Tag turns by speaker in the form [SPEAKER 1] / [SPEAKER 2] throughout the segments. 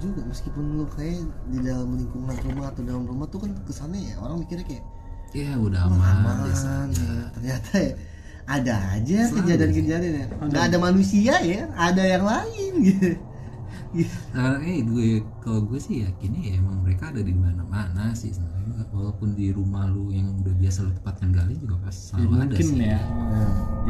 [SPEAKER 1] juga meskipun lu kayak di dalam lingkungan rumah atau dalam rumah tuh kan kesannya ya orang mikirnya kayak
[SPEAKER 2] ya udah
[SPEAKER 1] "Wah,
[SPEAKER 2] aman
[SPEAKER 1] aman,
[SPEAKER 2] biasa aja.
[SPEAKER 1] ya." ternyata ya ada aja
[SPEAKER 2] Selalu.
[SPEAKER 1] kejadian-kejadian ya nggak ada manusia ya ada yang lain gitu Gitu.
[SPEAKER 2] Nah, eh gue kalau gue sih yakinnya ya emang mereka ada di mana-mana sih sebenarnya walaupun di rumah lu yang udah biasa lu tempatkan gali juga pasti
[SPEAKER 3] Ya,
[SPEAKER 2] selalu ada
[SPEAKER 3] mungkin
[SPEAKER 2] sih.
[SPEAKER 3] ya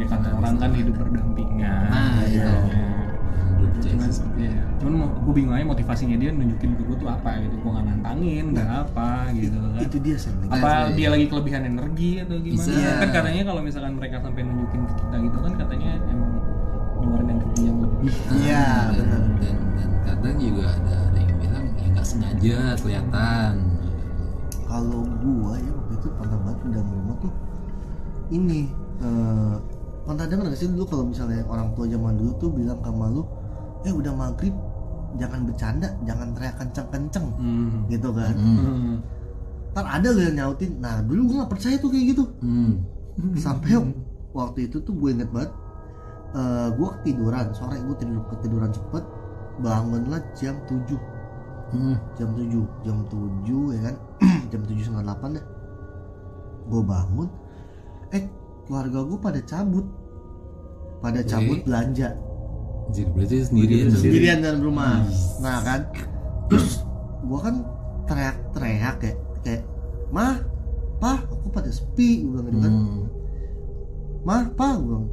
[SPEAKER 3] ya kata orang kan hidup berdampingan
[SPEAKER 2] Nah,
[SPEAKER 3] ya.
[SPEAKER 2] itu. Hidup
[SPEAKER 3] Cuman,
[SPEAKER 2] Jackson.
[SPEAKER 3] ya. cuman mau- gue bingung aja motivasinya dia nunjukin ke gue tuh apa gitu gue nggak nantangin nggak apa gitu kan
[SPEAKER 1] itu dia Sam.
[SPEAKER 3] apa dia lagi kelebihan energi atau gimana
[SPEAKER 2] Bisa.
[SPEAKER 3] kan katanya kalau misalkan mereka sampai nunjukin ke kita gitu kan katanya emang ngeluarin energi yang lebih
[SPEAKER 1] Iya,
[SPEAKER 2] Ah, dan,
[SPEAKER 1] benar.
[SPEAKER 2] dan, dan kadang juga ada ada yang bilang ya nggak sengaja kelihatan
[SPEAKER 1] kalau gua ya waktu itu pernah banget di dalam rumah tuh ini eh pernah denger nggak sih dulu kalau misalnya orang tua zaman dulu tuh bilang sama lu eh udah maghrib jangan bercanda jangan teriak kenceng-kenceng
[SPEAKER 3] hmm.
[SPEAKER 1] gitu kan
[SPEAKER 2] hmm.
[SPEAKER 3] Hmm.
[SPEAKER 1] ntar ada lu yang nyautin nah dulu gua nggak percaya tuh kayak gitu
[SPEAKER 2] Hmm.
[SPEAKER 1] sampai waktu itu tuh gue inget banget eh gue ketiduran sore gue tidur ketiduran cepet bangunlah jam 7
[SPEAKER 2] Hmm.
[SPEAKER 1] jam 7 jam 7 ya kan jam 7 setengah 8 dah gue bangun eh keluarga gue pada cabut pada
[SPEAKER 2] Oke.
[SPEAKER 1] cabut belanja
[SPEAKER 2] jadi berarti sendirian dong.
[SPEAKER 1] sendirian dalam rumah nah kan terus gue kan teriak-teriak kayak kayak mah pah aku pada sepi gue bilang gitu kan
[SPEAKER 2] Hmm.
[SPEAKER 1] mah pah gue bilang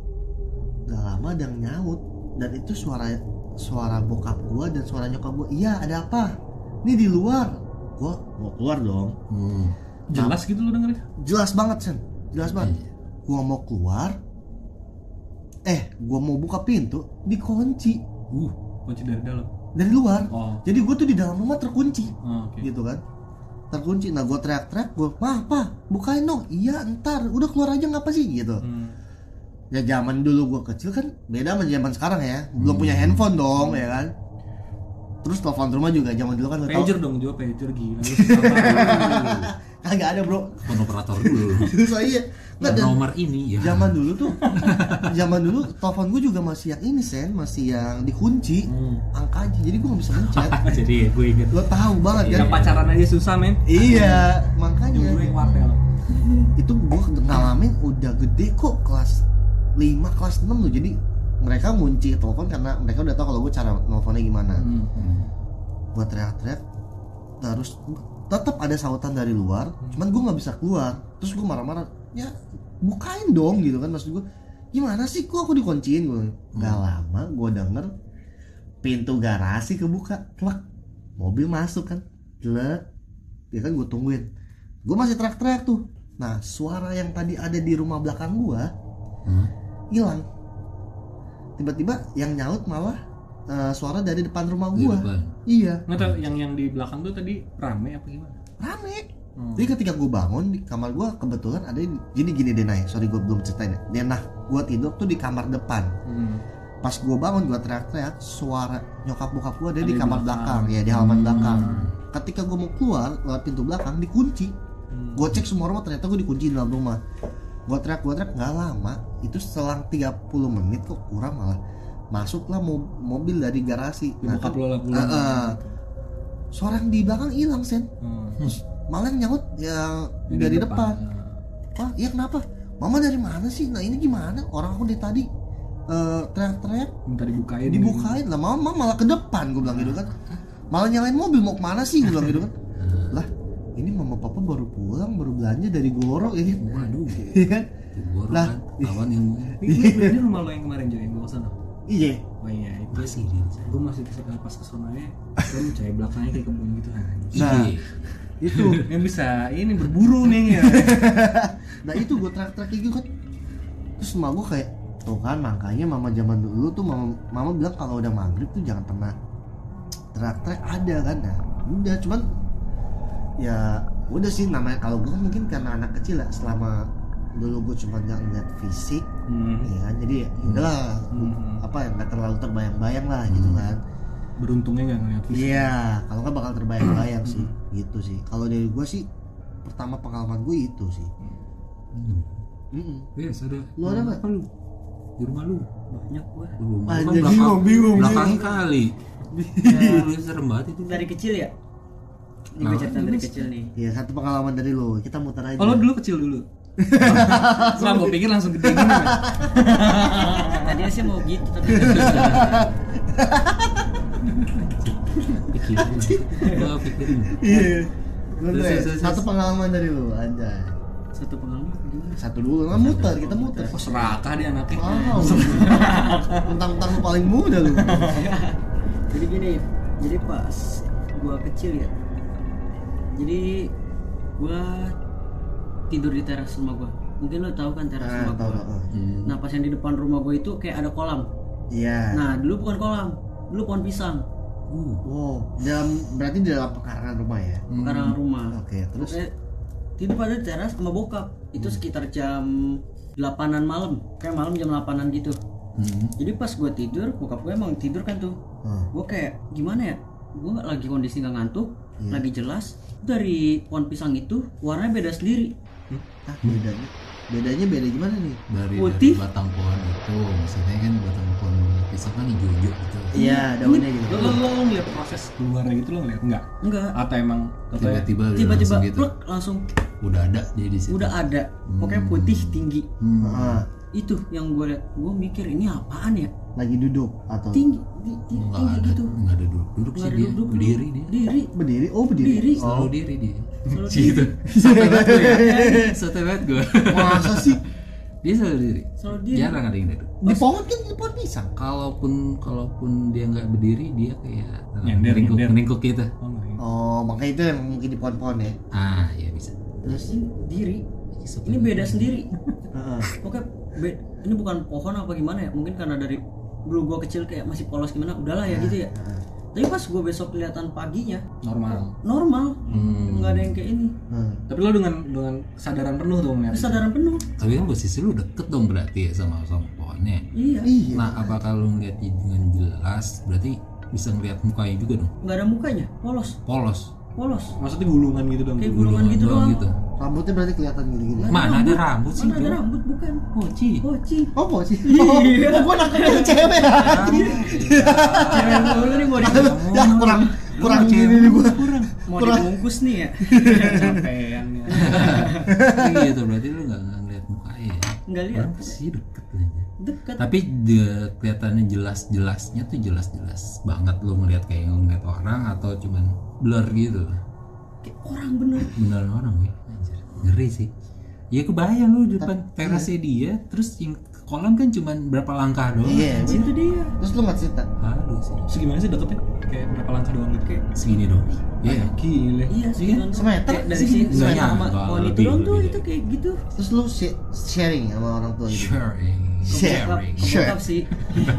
[SPEAKER 1] gak lama ada yang nyaut dan itu suara suara bokap gue dan suara nyokap gue iya ada apa ini di luar gue mau keluar dong
[SPEAKER 2] Hmm.
[SPEAKER 3] jelas gitu lu dengerin
[SPEAKER 1] jelas banget sen jelas banget
[SPEAKER 2] Iya,
[SPEAKER 1] gua mau keluar eh gua mau buka pintu dikunci
[SPEAKER 3] uh kunci dari dalam
[SPEAKER 1] dari luar
[SPEAKER 3] oh
[SPEAKER 1] jadi gua tuh di dalam rumah terkunci
[SPEAKER 3] oh, oke
[SPEAKER 1] gitu kan terkunci nah gua teriak-teriak gua mah apa bukain dong iya ntar udah keluar aja ngapa sih gitu
[SPEAKER 3] Hmm.
[SPEAKER 1] ya zaman dulu gua kecil kan beda sama zaman sekarang ya belum punya handphone dong ya kan terus telepon rumah juga zaman dulu kan nggak tahu
[SPEAKER 3] pager dong jawab pager gila Lu apa?
[SPEAKER 1] kagak ada bro
[SPEAKER 2] Telepon operator dulu
[SPEAKER 1] susah iya nggak
[SPEAKER 2] Dan
[SPEAKER 1] dan-
[SPEAKER 2] nomor ini ya
[SPEAKER 1] zaman dulu tuh zaman dulu telepon gue juga masih yang ini sen masih yang dikunci
[SPEAKER 3] Hmm.
[SPEAKER 1] angkanya jadi gue nggak bisa mencet
[SPEAKER 3] jadi ya, gue inget
[SPEAKER 1] lo tahu banget kan
[SPEAKER 3] yang pacaran aja susah men
[SPEAKER 1] iya
[SPEAKER 3] yang gue
[SPEAKER 1] makanya
[SPEAKER 3] kuartel
[SPEAKER 1] itu gue ngalamin udah gede kok kelas 5 kelas 6 loh jadi mereka ngunci telepon karena mereka udah tahu kalau gue cara nelfonnya gimana
[SPEAKER 3] hmm.
[SPEAKER 2] Hmm.
[SPEAKER 1] gue teriak-teriak terus tetap ada sautan dari luar
[SPEAKER 2] Hmm.
[SPEAKER 1] cuman gue nggak bisa keluar terus gue marah-marah ya bukain dong gitu kan maksud gue gimana sih kok aku dikunciin gue nggak
[SPEAKER 2] Hmm.
[SPEAKER 1] lama gue denger pintu garasi kebuka klak mobil masuk kan klak ya kan gue tungguin gue masih teriak-teriak tuh nah suara yang tadi ada di rumah belakang gue
[SPEAKER 2] Hmm.
[SPEAKER 1] hilang tiba-tiba yang nyaut malah eh, suara dari depan rumah
[SPEAKER 2] Di
[SPEAKER 1] gue
[SPEAKER 2] depan.
[SPEAKER 1] iya
[SPEAKER 3] nggak tahu yang yang di belakang tuh tadi rame apa gimana
[SPEAKER 1] rame
[SPEAKER 3] Hmm.
[SPEAKER 1] jadi ketika gue bangun di kamar gue kebetulan ada yang- jadi gini deh Nay, sorry gue belum ceritain ya. Deh, nah gue tidur tuh di kamar depan.
[SPEAKER 3] Hmm.
[SPEAKER 1] Pas gue bangun gue teriak-teriak suara nyokap bokap gue ada
[SPEAKER 3] Ada
[SPEAKER 1] di
[SPEAKER 3] di
[SPEAKER 1] kamar
[SPEAKER 3] belakang.
[SPEAKER 1] belakang. ya di halaman
[SPEAKER 3] Hmm.
[SPEAKER 1] belakang. Ketika gue mau keluar lewat pintu belakang dikunci.
[SPEAKER 3] Hmm.
[SPEAKER 1] Gue cek semua rumah ternyata gue dikunci di dalam rumah. Gue teriak gue teriak nggak lama itu selang 30 menit kok kurang malah masuklah mo- mobil dari garasi.
[SPEAKER 3] Di bokap
[SPEAKER 1] kan-
[SPEAKER 3] lu lah pulang.
[SPEAKER 1] Eh, eh. suara yang di belakang hilang sen
[SPEAKER 3] Hmm.
[SPEAKER 1] malah yang nyaut ya
[SPEAKER 3] Ini
[SPEAKER 1] dari depan. Wah, iya kenapa? Mama dari mana sih? Nah ini gimana? Orang aku dari tadi eh, teriak-teriak,
[SPEAKER 3] minta Hmm. dibukain
[SPEAKER 1] dibukain lah. Mama malah ke depan, gue bilang gitu kan. Malah nyalain mobil, mau kemana sih? Gue bilang gitu kan.
[SPEAKER 2] Nah,
[SPEAKER 1] Lah, ini mama papa baru pulang, baru belanja dari Goro ya kan?
[SPEAKER 2] Waduh, gitu.
[SPEAKER 1] Iya kan?
[SPEAKER 2] Borok
[SPEAKER 1] Lah.
[SPEAKER 2] kan kawan yang
[SPEAKER 3] Ini- ini, ini rumah lo yang kemarin Jo yang gue kesana
[SPEAKER 1] Iya.
[SPEAKER 3] oh iya itu
[SPEAKER 2] masih di
[SPEAKER 3] gue masih bisa pas kesonanya kan cahaya belakangnya kayak kebun gitu anjing.
[SPEAKER 1] Nah.
[SPEAKER 2] Iya.
[SPEAKER 3] itu yang bisa ini berburu nih ya
[SPEAKER 1] Nah itu gue teriak-teriak kayak gitu kan. Terus emak gue kayak, tuh kan makanya mama zaman dulu tuh mama, mama bilang kalau udah maghrib tuh jangan pernah teriak-teriak ada kan. Nah, udah cuman ya udah sih namanya kalau gue mungkin karena anak kecil ya selama dulu gue cuma nggak ngeliat fisik
[SPEAKER 3] Hmm.
[SPEAKER 1] ya kan jadi ya udahlah
[SPEAKER 3] Hmm.
[SPEAKER 1] apa ya nggak terlalu terbayang-bayang lah gitu kan
[SPEAKER 3] beruntungnya nggak ngeliat fisik.
[SPEAKER 1] iya kalau nggak bakal terbayang-bayang sih gitu sih kalau dari gue sih pertama pengalaman gue itu sih
[SPEAKER 2] Hmm.
[SPEAKER 1] Mm-mm.
[SPEAKER 2] Iya, ada.
[SPEAKER 1] Lu ada nggak?
[SPEAKER 2] Apa lu? Di rumah lu.
[SPEAKER 3] banyak gue
[SPEAKER 2] Di rumah lu
[SPEAKER 1] Ah,
[SPEAKER 2] kan
[SPEAKER 1] jadi
[SPEAKER 2] belakang,
[SPEAKER 1] gua bingung,
[SPEAKER 2] belakang kali.
[SPEAKER 4] Iya.
[SPEAKER 2] Ya, lu serem banget itu.
[SPEAKER 4] dari kecil ya ini
[SPEAKER 2] Nah,
[SPEAKER 4] gue cerita dari
[SPEAKER 2] ini-
[SPEAKER 4] kecil nih
[SPEAKER 1] ya satu pengalaman dari lo kita muter aja
[SPEAKER 3] Oh lo dulu kecil dulu. Nggak, gue pikir langsung gede gini. Mas.
[SPEAKER 4] tadinya sih mau gitu tapi
[SPEAKER 2] Pikirin. iya. Gua pikirin.
[SPEAKER 1] iya Lo dulu
[SPEAKER 2] Terus,
[SPEAKER 1] ya,
[SPEAKER 2] terus, terus.
[SPEAKER 1] satu pengalaman dari lo anjay
[SPEAKER 4] satu pengalaman apa gimana?
[SPEAKER 1] satu dulu kan muter kita muter
[SPEAKER 3] Oh serakah dia anaknya.
[SPEAKER 1] wow mentang-mentang lo paling muda Nah, lo
[SPEAKER 4] jadi gini jadi pas gua kecil ya jadi gua tidur di teras rumah gua mungkin lo tahu kan teras
[SPEAKER 1] Ah,
[SPEAKER 4] rumah
[SPEAKER 1] tahu,
[SPEAKER 4] gua
[SPEAKER 1] tahu.
[SPEAKER 2] Hmm.
[SPEAKER 4] nah pas yang di depan rumah gua itu kayak ada kolam
[SPEAKER 1] iya
[SPEAKER 4] nah dulu bukan kolam dulu pohon pisang
[SPEAKER 2] Uh,
[SPEAKER 1] wow dalam berarti di dalam pekarangan rumah ya
[SPEAKER 2] Hmm.
[SPEAKER 4] pekarangan rumah
[SPEAKER 1] oke terus Hmm.
[SPEAKER 4] Pokoknya tidur pada di teras sama bokap itu sekitar jam 8-an malam kayak malam jam 8-an gitu
[SPEAKER 2] hmm.
[SPEAKER 4] jadi pas gua tidur bokap gue emang tidur kan tuh
[SPEAKER 1] Hmm.
[SPEAKER 4] gue kayak gimana ya gue nggak lagi kondisi nggak ngantuk
[SPEAKER 1] Iya.
[SPEAKER 2] Hmm.
[SPEAKER 4] lagi jelas dari pohon pisang itu warnanya beda sendiri
[SPEAKER 1] ah bedanya bedanya beda gimana nih
[SPEAKER 2] Dari, dari
[SPEAKER 4] Putih.
[SPEAKER 2] batang pohon itu, maksudnya kan batang pohon pisang kan hijau-hijau gitu.
[SPEAKER 1] iya daunnya gitu
[SPEAKER 3] Lo lo lo lo ngeliat proses keluarnya gitu lo ngeliat Iya. nggak?
[SPEAKER 4] enggak
[SPEAKER 3] Atau emang ya? katanya
[SPEAKER 2] Tiba-tiba udah
[SPEAKER 4] ya? tiba-tiba
[SPEAKER 2] langsung
[SPEAKER 4] plek,
[SPEAKER 2] gitu.
[SPEAKER 4] langsung,
[SPEAKER 2] Udah ada dia di situ.
[SPEAKER 4] udah ada pokoknya putih tinggi
[SPEAKER 2] Hmm.
[SPEAKER 1] Ah,
[SPEAKER 4] itu yang gue liat gue mikir ini apaan ya
[SPEAKER 1] lagi duduk atau
[SPEAKER 4] tinggi di- di-
[SPEAKER 2] Hmm. Nggak
[SPEAKER 4] tinggi
[SPEAKER 2] ada,
[SPEAKER 4] gitu
[SPEAKER 2] nggak ada duduk-duduk
[SPEAKER 4] Nggak
[SPEAKER 2] sih
[SPEAKER 4] ada
[SPEAKER 2] dia,
[SPEAKER 4] duduk-duduk.
[SPEAKER 2] berdiri dia.
[SPEAKER 4] diri
[SPEAKER 1] berdiri oh
[SPEAKER 4] Berdiri.
[SPEAKER 1] berdiri
[SPEAKER 2] Selalu
[SPEAKER 1] oh
[SPEAKER 2] diri dia.
[SPEAKER 4] Selalu
[SPEAKER 2] Gitu. Sotoy banget gue ya. Sotoy banget gue.
[SPEAKER 1] masa sih
[SPEAKER 2] Dia selalu diri.
[SPEAKER 4] Selalu diri.
[SPEAKER 2] Jarang ada yang duduk.
[SPEAKER 1] di pohon kan di pohon pisang
[SPEAKER 2] Kalaupun kalaupun dia nggak berdiri dia kayak eh,
[SPEAKER 3] Nyender,
[SPEAKER 2] meringkuk
[SPEAKER 3] nyender.
[SPEAKER 2] meringkuk gitu.
[SPEAKER 3] Oh, ngeri.
[SPEAKER 1] oh makanya itu yang mungkin di pohon-pohon ya
[SPEAKER 2] Ah ya bisa.
[SPEAKER 1] terus
[SPEAKER 4] ini diri ini beda sendiri
[SPEAKER 1] Heeh.
[SPEAKER 4] pokoknya be- ini bukan pohon apa gimana ya mungkin karena dari dulu gue kecil kayak masih polos gimana udahlah
[SPEAKER 2] Iya.
[SPEAKER 4] ya gitu ya
[SPEAKER 1] heeh.
[SPEAKER 4] tapi pas gue besok kelihatan paginya
[SPEAKER 3] normal.
[SPEAKER 4] normal
[SPEAKER 2] Hmm.
[SPEAKER 4] nggak ada yang kayak ini
[SPEAKER 1] Heeh.
[SPEAKER 3] Tapi lo dengan dengan kesadaran penuh tuh ngeliat.
[SPEAKER 4] kesadaran penuh
[SPEAKER 2] Tapi kan posisi lu deket dong berarti ya sama sama pohonnya.
[SPEAKER 4] iya
[SPEAKER 1] iya
[SPEAKER 2] Nah apakah lu ngeliat dengan jelas berarti bisa ngeliat mukanya juga dong.
[SPEAKER 4] nggak ada mukanya polos
[SPEAKER 2] Polos.
[SPEAKER 4] polos
[SPEAKER 3] Maksudnya gulungan gitu dong.
[SPEAKER 4] Kayak gulungan gitu doang.
[SPEAKER 1] rambutnya berarti kelihatan gini-gini
[SPEAKER 2] Mana ada rambut sih?
[SPEAKER 4] mana ada
[SPEAKER 2] Bro?
[SPEAKER 4] rambut Iya. bukan
[SPEAKER 2] Poci.
[SPEAKER 4] poci
[SPEAKER 1] oh pohon sih oh, oh gue nangkepnya cewek
[SPEAKER 4] cewek mulu nih mau di
[SPEAKER 1] ya kurang kurang gini nih gue
[SPEAKER 4] mau dibungkus nih ya
[SPEAKER 3] Capean ya.
[SPEAKER 2] gitu berarti lu nggak nggak ngeliat mukanya ya.
[SPEAKER 4] nggak lihat
[SPEAKER 2] Orang sih deket aja.
[SPEAKER 4] dekat
[SPEAKER 2] Tapi de- kelihatannya jelas-jelasnya tuh jelas-jelas banget lu ngeliat kayak lu ngeliat orang atau cuman blur gitu.
[SPEAKER 4] kayak orang bener
[SPEAKER 2] Beneran orang ya. Anjir, ngeri sih. Ya kebayang lu di depan terasnya dia, terus yang kolam kan cuman berapa langkah doang.
[SPEAKER 1] iya
[SPEAKER 4] itu dia
[SPEAKER 1] terus lu nggak cerita
[SPEAKER 2] Aduh sih.
[SPEAKER 3] Terus gimana sih deketnya? Kayak berapa langkah doang gitu kayak.
[SPEAKER 2] Segini dong. Iya.
[SPEAKER 3] Gile.
[SPEAKER 4] iya sekitar
[SPEAKER 1] Semeter.
[SPEAKER 4] kayak dari sini
[SPEAKER 2] Nggak
[SPEAKER 4] semeter sama
[SPEAKER 2] nyangka,
[SPEAKER 4] pohon itu
[SPEAKER 2] lebih,
[SPEAKER 4] doang tuh
[SPEAKER 2] lebih.
[SPEAKER 4] itu kayak gitu
[SPEAKER 1] terus lu shi- sharing sama orang tua gitu
[SPEAKER 2] Sharing.
[SPEAKER 1] Sharing.
[SPEAKER 2] Sharing.
[SPEAKER 1] Sure.
[SPEAKER 4] Bokap sih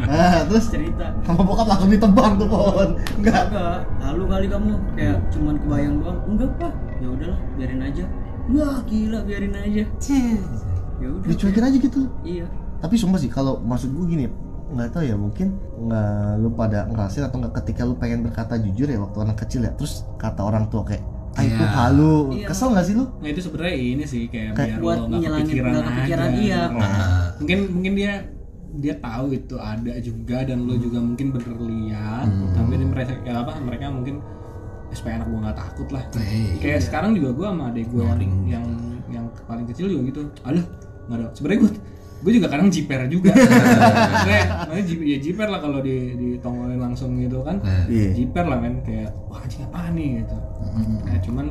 [SPEAKER 1] ah terus
[SPEAKER 4] cerita
[SPEAKER 1] sama bokap langsung ditebang tuh pohon enggak Hmm.
[SPEAKER 4] Enggak, halu kali kamu kayak cuman kebayang doang. Enggak, Pak. Ya udahlah, biarin aja. Wah, gila biarin aja. Ya udah.
[SPEAKER 1] dicuekin aja gitu
[SPEAKER 4] Iya.
[SPEAKER 1] tapi sumpah sih kalau maksud gue gini nggak tahu ya mungkin nggak lu pada ngerasain atau nggak ketika lu pengen berkata jujur ya waktu anak kecil ya terus kata orang tua kayak ah itu
[SPEAKER 2] Iya.
[SPEAKER 1] halu
[SPEAKER 4] Iya.
[SPEAKER 1] kesel nggak sih lu
[SPEAKER 3] Nah itu sebenarnya ini sih kayak
[SPEAKER 1] Kayak
[SPEAKER 3] biar
[SPEAKER 4] buat
[SPEAKER 3] lo nggak
[SPEAKER 4] ngilangin,
[SPEAKER 3] kepikiran,
[SPEAKER 4] nggak kepikiran,
[SPEAKER 3] aja. Nah,
[SPEAKER 4] iya.
[SPEAKER 2] Ah.
[SPEAKER 3] Mungkin mungkin dia dia tahu itu ada juga dan lo juga mungkin bener lihat tapi dia merasa kayak apa mereka mungkin "Eh, supaya anak gua nggak takut lah
[SPEAKER 2] Hey.
[SPEAKER 3] kayak sekarang juga gua sama adek gua yang, yang yang paling kecil juga gitu aduh nggak ada sebenarnya gua gue juga kadang jiper juga Maksudnya, maksudnya jip- ya jiper lah kalau di ditongolin langsung gitu kan
[SPEAKER 1] Iya.
[SPEAKER 3] jiper lah men kayak wah anjing apaan nih gitu nah cuman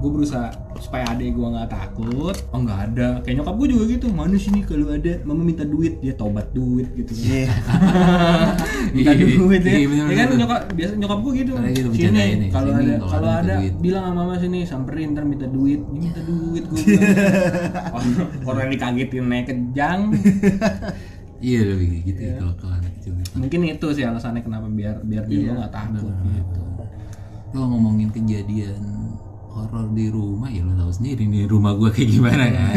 [SPEAKER 3] gue berusaha supaya adek gue nggak takut oh nggak ada kayak nyokap gue juga gitu mana sini kalau ada mama minta duit dia tobat duit gitu kan
[SPEAKER 1] Iya.
[SPEAKER 3] minta
[SPEAKER 2] Iya,
[SPEAKER 3] duit ya,
[SPEAKER 2] iya, bener,
[SPEAKER 3] ya kan
[SPEAKER 2] bener.
[SPEAKER 3] nyokap biasa nyokap gue gitu
[SPEAKER 2] Karena gitu
[SPEAKER 3] sini
[SPEAKER 2] bercandain nih,
[SPEAKER 3] kalau
[SPEAKER 2] sini
[SPEAKER 3] ada
[SPEAKER 2] kalau ada
[SPEAKER 3] kalau
[SPEAKER 2] minta
[SPEAKER 3] ada
[SPEAKER 2] duit." Ya.
[SPEAKER 3] bilang sama mama sini samperin ntar minta duit Dia minta duit gue orang dikagetin naik kejang
[SPEAKER 2] Iya lebih kayak gitu ya kalau kalau anak kecil gitu.
[SPEAKER 3] mungkin itu sih alasannya kenapa biar biar
[SPEAKER 2] Iya,
[SPEAKER 3] dia lo nggak takut gitu
[SPEAKER 2] Nah, Kalau ngomongin kejadian horor di rumah ya lo tahu sendiri nih rumah gua kayak gimana
[SPEAKER 1] Iya.
[SPEAKER 2] kan.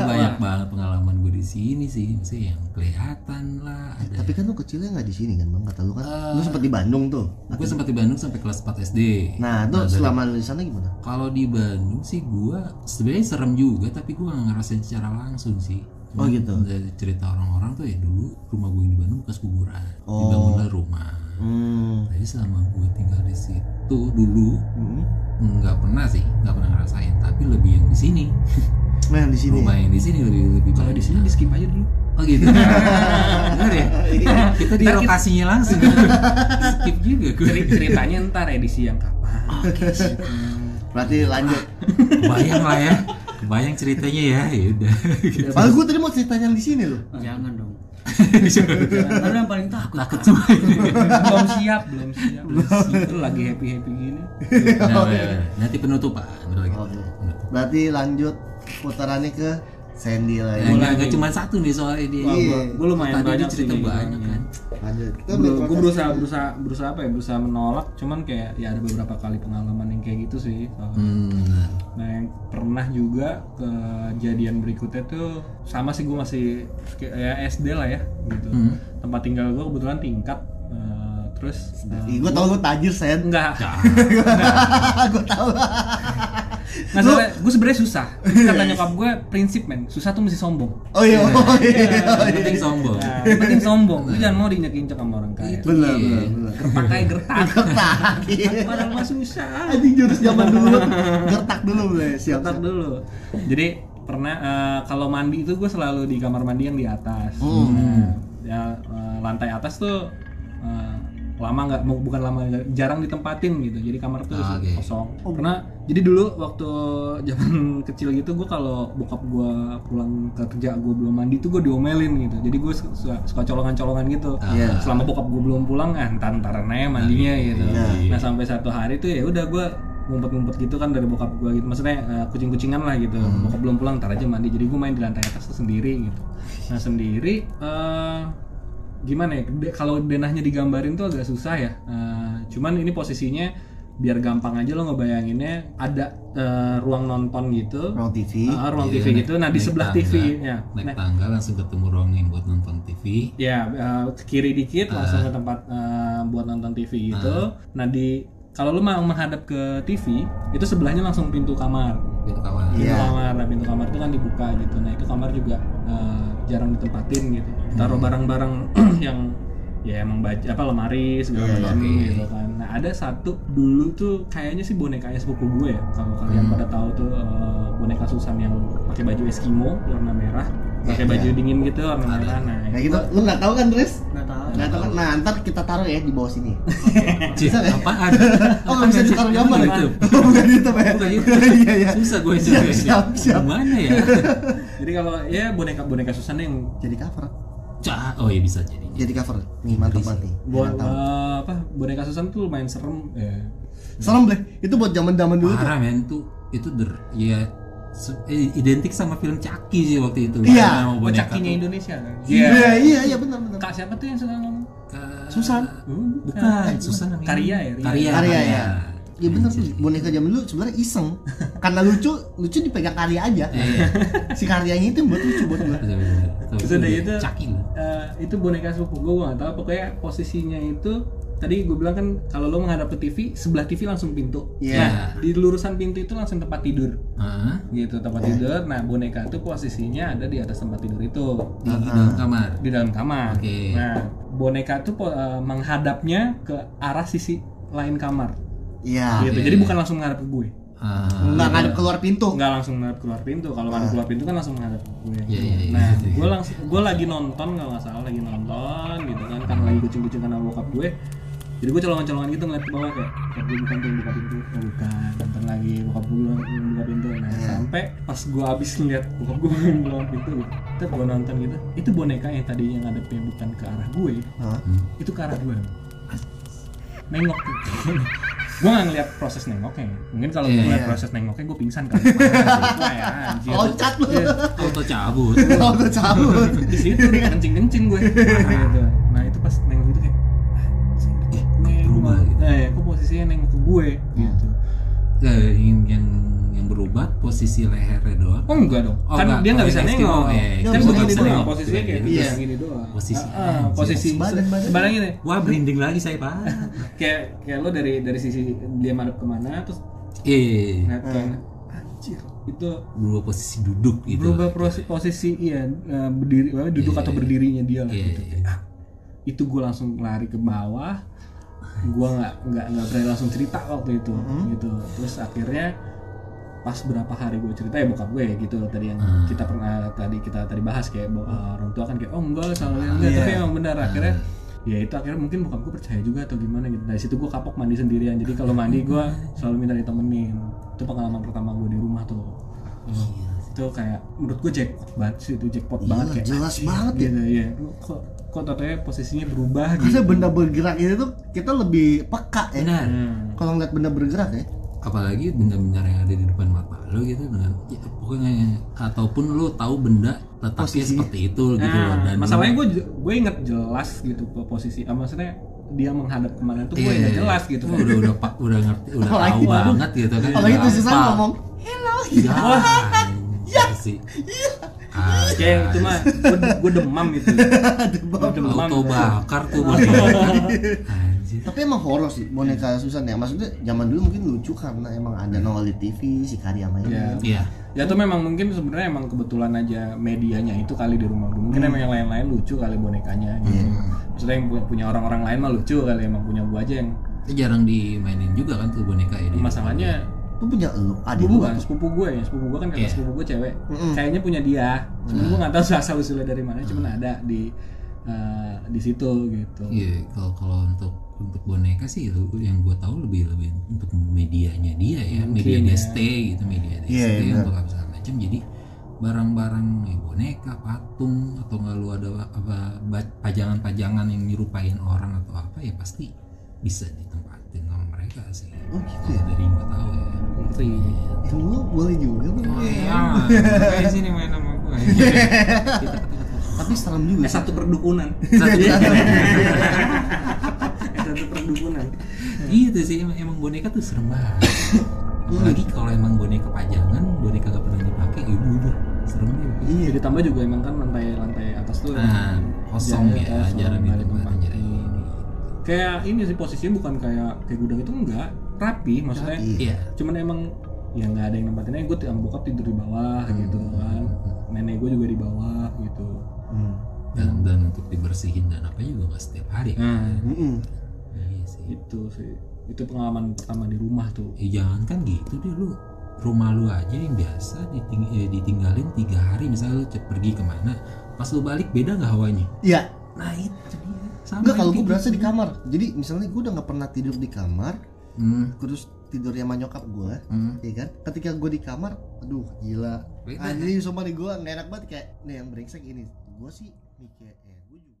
[SPEAKER 2] Udah banyak banget pengalaman gue di sini sih, maksudnya yang kelihatan lah ada.
[SPEAKER 1] tapi kan lu kecilnya nggak di sini kan bang kata lu kan
[SPEAKER 2] Ah.
[SPEAKER 1] lu sempat di Bandung tuh
[SPEAKER 2] Gue sempat di Bandung sampai kelas 4 SD.
[SPEAKER 1] nah tuh
[SPEAKER 2] dari-
[SPEAKER 1] selama lu di sana gimana
[SPEAKER 2] kalau di Bandung sih gua sebenarnya serem juga tapi gua nggak ngerasain secara langsung sih.
[SPEAKER 1] Oh, gitu.
[SPEAKER 2] Dari cerita orang-orang tuh ya dulu rumah gue yang di Bandung bekas kuburan.
[SPEAKER 1] Oh.
[SPEAKER 2] Dibangunlah rumah.
[SPEAKER 1] hmm
[SPEAKER 2] Tapi selama gue tinggal di situ dulu nggak pernah sih nggak pernah ngerasain tapi lebih yang di sini
[SPEAKER 1] Nah di sini.
[SPEAKER 3] ya.
[SPEAKER 2] rumah yang di sini lebih lebih
[SPEAKER 3] Kalau di
[SPEAKER 2] banyak.
[SPEAKER 3] sini di skip aja dulu.
[SPEAKER 2] oh gitu bener ya kita di
[SPEAKER 3] Ntar kita-
[SPEAKER 2] lokasinya langsung skip juga gue
[SPEAKER 3] Ceri- ceritanya ntar edisi yang kapan.
[SPEAKER 2] Oh, gitu.
[SPEAKER 1] Berarti lanjut.
[SPEAKER 2] bayang lah ya bayang ceritanya ya ya udah
[SPEAKER 1] Padahal gue tadi mau ceritanya yang di sini loh.
[SPEAKER 4] Jangan dong. Jangan, karena yang paling takut.
[SPEAKER 2] takut semua
[SPEAKER 3] Oh, belum siap, belum siap. Itu lagi happy happy gini. iya.
[SPEAKER 2] Nah, bener-bener. nanti penutupan bener lagi Nah,
[SPEAKER 3] Oh,
[SPEAKER 1] Oke.
[SPEAKER 2] Bener.
[SPEAKER 1] Berarti lanjut putarannya ke Sandy lah
[SPEAKER 2] Nah,
[SPEAKER 1] ya.
[SPEAKER 2] nggak- nggak cuma satu nih soalnya dia
[SPEAKER 3] Wah,
[SPEAKER 1] Iya.
[SPEAKER 3] gua, gua lumayan
[SPEAKER 2] Tadi
[SPEAKER 3] banyak
[SPEAKER 2] dia cerita
[SPEAKER 3] sih kayak gitu. Oh, iya.
[SPEAKER 2] banyak
[SPEAKER 3] gini.
[SPEAKER 2] kan
[SPEAKER 1] Lanjut. Kita
[SPEAKER 3] Gua-
[SPEAKER 1] berproses.
[SPEAKER 3] gua berusaha berusaha berusaha apa ya berusaha menolak cuman kayak ya ada beberapa kali pengalaman yang kayak gitu sih soalnya.
[SPEAKER 2] hmm, bener.
[SPEAKER 3] nah yang pernah juga kejadian berikutnya tuh sama sih gua masih kayak ya SD lah ya gitu
[SPEAKER 2] Hmm.
[SPEAKER 3] tempat tinggal gua kebetulan tingkat Eh, terus eh,
[SPEAKER 1] Ih, gue tau lu tajir Sen.
[SPEAKER 3] enggak
[SPEAKER 2] Dah.
[SPEAKER 1] gue tau.
[SPEAKER 3] masalah gue sebenarnya susah
[SPEAKER 2] Iya,
[SPEAKER 3] kata nyokap gue prinsip men susah tuh mesti sombong
[SPEAKER 1] Oh iya. Oh iya.
[SPEAKER 2] Yang penting sombong
[SPEAKER 3] nah, yang penting sombong lu jangan mau diinjak injak sama orang kaya
[SPEAKER 2] Itu.
[SPEAKER 1] Benar
[SPEAKER 2] Iya.
[SPEAKER 1] benar benar.
[SPEAKER 3] gertak kayak gertak
[SPEAKER 1] Gertak. iya.
[SPEAKER 3] padahal mah susah
[SPEAKER 1] Anjing jurus zaman dulu. Gertak dulu boleh siap.
[SPEAKER 3] Ntar dulu. Jadi pernah eh, kalau mandi itu gue selalu di kamar mandi yang di atas.
[SPEAKER 1] Hmm.
[SPEAKER 3] Nah, ya eh, lantai atas tuh eh, lama nggak bu- bukan lama jarang ditempatin gitu. Jadi kamar tuh
[SPEAKER 2] Ah, oke.
[SPEAKER 3] kosong.
[SPEAKER 1] Oh.
[SPEAKER 3] Pernah. Jadi dulu waktu zaman kecil gitu gue kalau bokap gue pulang kerja gue belum mandi tuh gue diomelin gitu. Jadi gue su- su- suka colongan-colongan gitu.
[SPEAKER 1] Iya.
[SPEAKER 3] Selama bokap gue belum pulang, ah, ntar-ntaran aja mandinya gitu.
[SPEAKER 1] Iya.
[SPEAKER 3] Nah sampai satu hari tuh ya udah gue ngumpet-ngumpet gitu kan dari bokap gue gitu maksudnya eh, kucing-kucingan lah gitu
[SPEAKER 2] Hmm.
[SPEAKER 3] bokap belum pulang ntar aja mandi jadi gue main di lantai atas tuh sendiri gitu nah sendiri eh, gimana ya de- kalau denahnya digambarin tuh agak susah ya Eh, cuman ini posisinya biar gampang aja lo ngebayanginnya ada eh, ruang nonton gitu
[SPEAKER 1] Ruang TV.
[SPEAKER 3] Ah, ruang
[SPEAKER 2] Iya,
[SPEAKER 3] TV
[SPEAKER 2] naik-
[SPEAKER 3] gitu nah di
[SPEAKER 2] naik
[SPEAKER 3] sebelah
[SPEAKER 2] tangga.
[SPEAKER 3] TV ya
[SPEAKER 2] naik
[SPEAKER 3] Nah,
[SPEAKER 2] tangga langsung ketemu ruang yang buat nonton TV
[SPEAKER 3] Ya, eh, ke kiri dikit
[SPEAKER 1] Ah.
[SPEAKER 3] langsung ke tempat eh, buat nonton TV gitu. Nah, di kalau lu mau menghadap ke TV, itu sebelahnya langsung pintu kamar.
[SPEAKER 2] itu
[SPEAKER 1] Iya.
[SPEAKER 2] kawan
[SPEAKER 3] Pintu kamar, nah pintu kamar itu kan dibuka gitu. Nah, itu kamar juga eh, jarang ditempatin gitu.
[SPEAKER 1] Hmm.
[SPEAKER 3] Taruh barang-barang yang ya emang baju apa lemari
[SPEAKER 1] Iya,
[SPEAKER 3] segala macam gitu kan. Nah, ada satu dulu tuh kayaknya sih bonekanya sepupu gue ya. Kalau kalian
[SPEAKER 1] Hmm.
[SPEAKER 3] pada tahu tuh eh, boneka Susan yang pakai baju Eskimo warna merah, pakai
[SPEAKER 1] Iya.
[SPEAKER 3] baju dingin gitu warna merah. Nah,
[SPEAKER 1] Kayak
[SPEAKER 3] itu-
[SPEAKER 1] gitu. Lu nggak tahu kan Tris?
[SPEAKER 4] Nggak tahu.
[SPEAKER 1] Nggak tahu kan? Nah ntar kita taruh ya di bawah sini.
[SPEAKER 2] Cih,
[SPEAKER 1] Bisa nggak?
[SPEAKER 2] apaan?
[SPEAKER 1] Oh nggak bisa ditaruh
[SPEAKER 2] Bukan
[SPEAKER 1] gambar. ya?
[SPEAKER 2] YouTube.
[SPEAKER 1] Oh, Bukan YouTube ya.
[SPEAKER 2] Bukan itu.
[SPEAKER 1] Iya iya.
[SPEAKER 2] Susah gue
[SPEAKER 1] Siap,
[SPEAKER 2] cari.
[SPEAKER 1] siap, siap.
[SPEAKER 2] Gimana ya?
[SPEAKER 3] Jadi kalau ya boneka boneka Susan yang
[SPEAKER 1] Jadi cover.
[SPEAKER 2] Cah, oh iya bisa jadi.
[SPEAKER 1] Jadi cover. Nih mantap banget nih.
[SPEAKER 3] buat
[SPEAKER 2] Iya,
[SPEAKER 1] Mantap.
[SPEAKER 3] eh, apa boneka Susan tuh lumayan serem. Ya.
[SPEAKER 1] Serem deh. Itu buat zaman-zaman dulu tuh.
[SPEAKER 2] Parah men tuh itu der ya se- eh, identik sama film Caki sih waktu itu.
[SPEAKER 1] Iya.
[SPEAKER 2] Sama
[SPEAKER 3] Oh,
[SPEAKER 2] boneka
[SPEAKER 3] cakinya
[SPEAKER 2] tuh.
[SPEAKER 3] Indonesia kan?
[SPEAKER 1] Iya iya iya benar benar.
[SPEAKER 3] Kak siapa tuh yang suka ngomong?
[SPEAKER 2] Ke-
[SPEAKER 1] Susan.
[SPEAKER 2] Hmm, Bukan, Susan namanya.
[SPEAKER 3] Karya ya, Ria.
[SPEAKER 2] Karya. Iya,
[SPEAKER 1] Karya ya. Ya bener tuh
[SPEAKER 2] Anjir.
[SPEAKER 1] boneka zaman dulu sebenarnya iseng. Karena lucu, lucu dipegang karya aja.
[SPEAKER 2] Iya.
[SPEAKER 1] Si karyanya itu yang buat lucu buat gua.
[SPEAKER 2] Bener-bener. Tahu
[SPEAKER 3] Terus udah
[SPEAKER 2] dia
[SPEAKER 3] gitu,
[SPEAKER 2] Iya, Caki.
[SPEAKER 3] eh, itu boneka sepupu gue, gue gak tau. Pokoknya posisinya itu tadi gue bilang kan kalau lo menghadap ke TV, sebelah TV langsung pintu.
[SPEAKER 1] Iya.
[SPEAKER 3] Nah, di lurusan pintu itu langsung tempat tidur.
[SPEAKER 2] Heeh.
[SPEAKER 3] Gitu tempat
[SPEAKER 2] Iya.
[SPEAKER 3] tidur. Nah boneka itu posisinya ada di atas tempat tidur itu.
[SPEAKER 2] Di dalam kamar.
[SPEAKER 3] di dalam kamar.
[SPEAKER 2] Oke.
[SPEAKER 3] Nah, boneka tuh po- eh, menghadapnya ke arah sisi lain kamar.
[SPEAKER 1] Iya.
[SPEAKER 2] Oke.
[SPEAKER 3] Gitu. Jadi bukan langsung menghadap ke gue.
[SPEAKER 2] Ah,
[SPEAKER 1] Enggak ada keluar pintu.
[SPEAKER 3] Nggak langsung menghadap keluar pintu. Kalau menghadap keluar pintu kan langsung menghadap ke gue.
[SPEAKER 2] Iya, iya, iya.
[SPEAKER 3] Nah, gue langsung gue lagi nonton kalau nggak salah lagi nonton gitu kan karena lagi kucing-kucing sama bokap gue. Jadi gue colongan-colongan gitu ngeliat ke bawah kayak, kayak gue bukan tuh buka pintu, oh, bukan nonton lagi bokap gue bilang, "Lu buka pintu. Nah
[SPEAKER 2] Iya.
[SPEAKER 3] sampai pas gue abis ngeliat bokap gue buka pintu, gitu. Terus gue nonton gitu, itu boneka yang tadinya ngadepnya bukan ke arah gue,
[SPEAKER 1] Hah?
[SPEAKER 3] itu ke arah gue nengok gue gak ngeliat proses nengoknya ya. mungkin kalau gue
[SPEAKER 2] Iya.
[SPEAKER 3] ngeliat proses nengoknya gue pingsan kali Wah, ya, anjir. Iya.
[SPEAKER 1] Loncat lu.
[SPEAKER 2] Auto cabut.
[SPEAKER 1] Oh, gue cabut.
[SPEAKER 3] di situ nih kencing kencing gue gitu. nah itu pas nengok itu kayak anjing,
[SPEAKER 2] Eh,
[SPEAKER 3] nengok.
[SPEAKER 2] rumah gitu. Iya.
[SPEAKER 3] nah ya gue posisinya nengok ke gue gitu
[SPEAKER 2] Eh, yang yang yang berubah posisi lehernya doang.
[SPEAKER 3] oh enggak dong
[SPEAKER 2] Oh,
[SPEAKER 3] kan
[SPEAKER 2] enggak.
[SPEAKER 3] dia nggak
[SPEAKER 2] Oh,
[SPEAKER 3] bisa
[SPEAKER 2] yang
[SPEAKER 3] nengok
[SPEAKER 2] Eskimo, eh,
[SPEAKER 3] kan
[SPEAKER 1] yang
[SPEAKER 3] gue
[SPEAKER 1] bisa
[SPEAKER 3] gini doang
[SPEAKER 1] nengok.
[SPEAKER 3] posisinya kayak
[SPEAKER 2] Iya.
[SPEAKER 3] yang gini doang
[SPEAKER 2] Posisi
[SPEAKER 3] Ah, ah,
[SPEAKER 2] anjir.
[SPEAKER 3] posisi
[SPEAKER 1] Sebadan-badan.
[SPEAKER 3] sebarang ini
[SPEAKER 2] Wah berinding lagi saya pak.
[SPEAKER 3] kayak kayak lo dari dari sisi dia madep kemana terus
[SPEAKER 2] Eh
[SPEAKER 3] Nah, kayak, anjir itu
[SPEAKER 2] berubah posisi duduk gitu.
[SPEAKER 3] berubah proses posisi iya eh, berdiri eh, duduk atau berdirinya dia lah
[SPEAKER 2] Iya,
[SPEAKER 3] gitu.
[SPEAKER 2] iya.
[SPEAKER 3] Ah, itu gue langsung lari ke bawah gua nggak nggak nggak berani langsung cerita waktu itu
[SPEAKER 2] Mm-hmm.
[SPEAKER 1] Mhm.
[SPEAKER 3] gitu terus akhirnya pas berapa hari gue cerita ya bokap gue gitu tadi yang
[SPEAKER 2] Hmm.
[SPEAKER 3] kita pernah tadi kita tadi bahas kayak bo- eh, orang tua kan kayak oh enggak salah
[SPEAKER 2] Ah,
[SPEAKER 3] enggak tapi
[SPEAKER 1] Iya.
[SPEAKER 3] emang benar akhirnya ya itu akhirnya mungkin bokap gue percaya juga atau gimana gitu dari situ gue kapok mandi sendirian jadi kalau mandi gue selalu minta ditemenin itu pengalaman pertama gue di rumah tuh itu kayak menurut gue jackpot banget sih itu jackpot
[SPEAKER 1] Iya,
[SPEAKER 3] banget kayak
[SPEAKER 1] jelas
[SPEAKER 3] anjing,
[SPEAKER 1] banget ya.
[SPEAKER 3] gitu, ya kok kok tatonya posisinya berubah gitu
[SPEAKER 1] Karena benda bergerak ini tuh kita lebih peka ya.
[SPEAKER 2] benar
[SPEAKER 3] Hmm.
[SPEAKER 1] Kalau ngeliat benda bergerak ya.
[SPEAKER 2] apalagi benda-benda yang ada di depan mata lo gitu dengan ya, pokoknya ataupun lo tahu benda letaknya
[SPEAKER 1] Posisi.
[SPEAKER 2] seperti itu gitu loh dan
[SPEAKER 3] Nah, masalahnya gue gue inget jelas gitu po- posisi, ah, maksudnya dia menghadap kemana tuh gue inget jelas gitu.
[SPEAKER 2] Lo Iya, udah udah pak udah ngerti udah
[SPEAKER 1] Apalagi-
[SPEAKER 2] tahu banget gitu
[SPEAKER 3] Iya,
[SPEAKER 2] kan
[SPEAKER 1] Kalau
[SPEAKER 2] udah
[SPEAKER 1] itu susah
[SPEAKER 2] hafal.
[SPEAKER 1] ngomong. Hello.
[SPEAKER 2] ya ya sih
[SPEAKER 3] Kayak Iya. Ya, itu mah gue, gue demam itu. gue demam.
[SPEAKER 2] auto bakar tuh boneka anjir
[SPEAKER 1] Tapi emang horor sih boneka Susan ya. Maksudnya zaman dulu mungkin lucu karena emang ada Nolly TV, si karya
[SPEAKER 3] Iya.
[SPEAKER 1] mainan.
[SPEAKER 2] iya
[SPEAKER 3] Ya tuh memang mungkin sebenarnya emang kebetulan aja medianya itu kali di rumah gue.
[SPEAKER 2] Hmm.
[SPEAKER 3] Mungkin emang yang lain-lain lucu kali bonekanya. Gitu.
[SPEAKER 1] Iya.
[SPEAKER 2] Iya.
[SPEAKER 3] Maksudnya yang pu- punya orang-orang lain mah lucu kali emang punya gue aja yang
[SPEAKER 2] itu jarang dimainin juga kan tuh boneka ya di-
[SPEAKER 3] masalahnya
[SPEAKER 1] Itu punya lu, ada
[SPEAKER 3] sepupu
[SPEAKER 1] dua.
[SPEAKER 3] kan sepupu gue ya sepupu gue kan kakak
[SPEAKER 2] Iya. Hmm.
[SPEAKER 3] sepupu gue cewek
[SPEAKER 1] Mm-mm.
[SPEAKER 3] kayaknya punya dia cuma gue nggak tahu asal usulnya dari mana cuman ada di eh, di situ gitu
[SPEAKER 2] Iya, kalau kalau untuk untuk boneka sih itu yang gue tahu lebih lebih untuk medianya dia ya,
[SPEAKER 3] Mungkin
[SPEAKER 2] media
[SPEAKER 3] ya.
[SPEAKER 2] dia stay gitu, media dia
[SPEAKER 1] Iya,
[SPEAKER 2] stay
[SPEAKER 1] iya,
[SPEAKER 2] untuk apa segala macam. Jadi barang-barang ya, boneka, patung atau nggak lu ada apa ba- pajangan-pajangan yang nyerupain orang atau apa ya pasti bisa ditempatin sama mereka sih.
[SPEAKER 1] Oh, gitu ya?
[SPEAKER 2] Kalau dari yang gue tahu ya.
[SPEAKER 3] ngerti
[SPEAKER 1] Ya lu boleh juga boleh.
[SPEAKER 3] Oh,
[SPEAKER 2] Iya,
[SPEAKER 3] iya.
[SPEAKER 2] Kayak sini main sama gue.
[SPEAKER 1] Tapi serem juga.
[SPEAKER 3] Eh,
[SPEAKER 1] sih.
[SPEAKER 3] satu perdukunan
[SPEAKER 4] Iya.
[SPEAKER 2] Satu
[SPEAKER 3] Eh, satu perdukunan
[SPEAKER 2] Gitu sih emang, emang boneka tuh serem banget. Apalagi kalau emang boneka pajangan, boneka gak pernah dipakai, ibu udah serem juga.
[SPEAKER 3] iya ditambah juga emang kan lantai lantai atas tuh
[SPEAKER 2] Nah, kosong ya,
[SPEAKER 3] jarang- Iya, kosong,
[SPEAKER 2] jarang
[SPEAKER 3] nggak ada
[SPEAKER 2] ditempati,
[SPEAKER 3] tempat.
[SPEAKER 2] jarang ini.
[SPEAKER 3] kayak ini sih posisinya bukan kayak kayak gudang itu enggak rapi maksudnya
[SPEAKER 1] Iya.
[SPEAKER 2] Iya.
[SPEAKER 3] cuman emang ya nggak ada yang nempatinnya gue sama bokap tidur di bawah
[SPEAKER 2] Hmm.
[SPEAKER 3] gitu kan nenek gue juga di bawah gitu
[SPEAKER 1] Hmm.
[SPEAKER 2] Dan, dan untuk dibersihin dan apa juga gak setiap hari. kan?
[SPEAKER 3] nah
[SPEAKER 1] Mm-mm.
[SPEAKER 2] Iya sih.
[SPEAKER 3] itu sih itu pengalaman pertama di rumah tuh
[SPEAKER 2] Ya, jangan kan gitu deh lu rumah lu aja yang biasa diting- eh, ditinggalin tiga hari misalnya lu cep- pergi kemana pas lu balik beda nggak hawanya
[SPEAKER 1] Iya.
[SPEAKER 2] nah itu dia sama
[SPEAKER 1] Enggak kalau gue
[SPEAKER 2] kayak
[SPEAKER 1] berasa di
[SPEAKER 2] gitu.
[SPEAKER 1] kamar. Jadi misalnya gue udah nggak pernah tidur di kamar,
[SPEAKER 2] hmm,
[SPEAKER 1] terus tidurnya sama nyokap gue,
[SPEAKER 2] hmm.
[SPEAKER 1] ya kan? Ketika gue di kamar, aduh gila.
[SPEAKER 2] Beda. kan?
[SPEAKER 1] Anjing sumpah nih gue nggak enak banget kayak nih yang brengsek ini. Gue sih mikir, eh gue juga.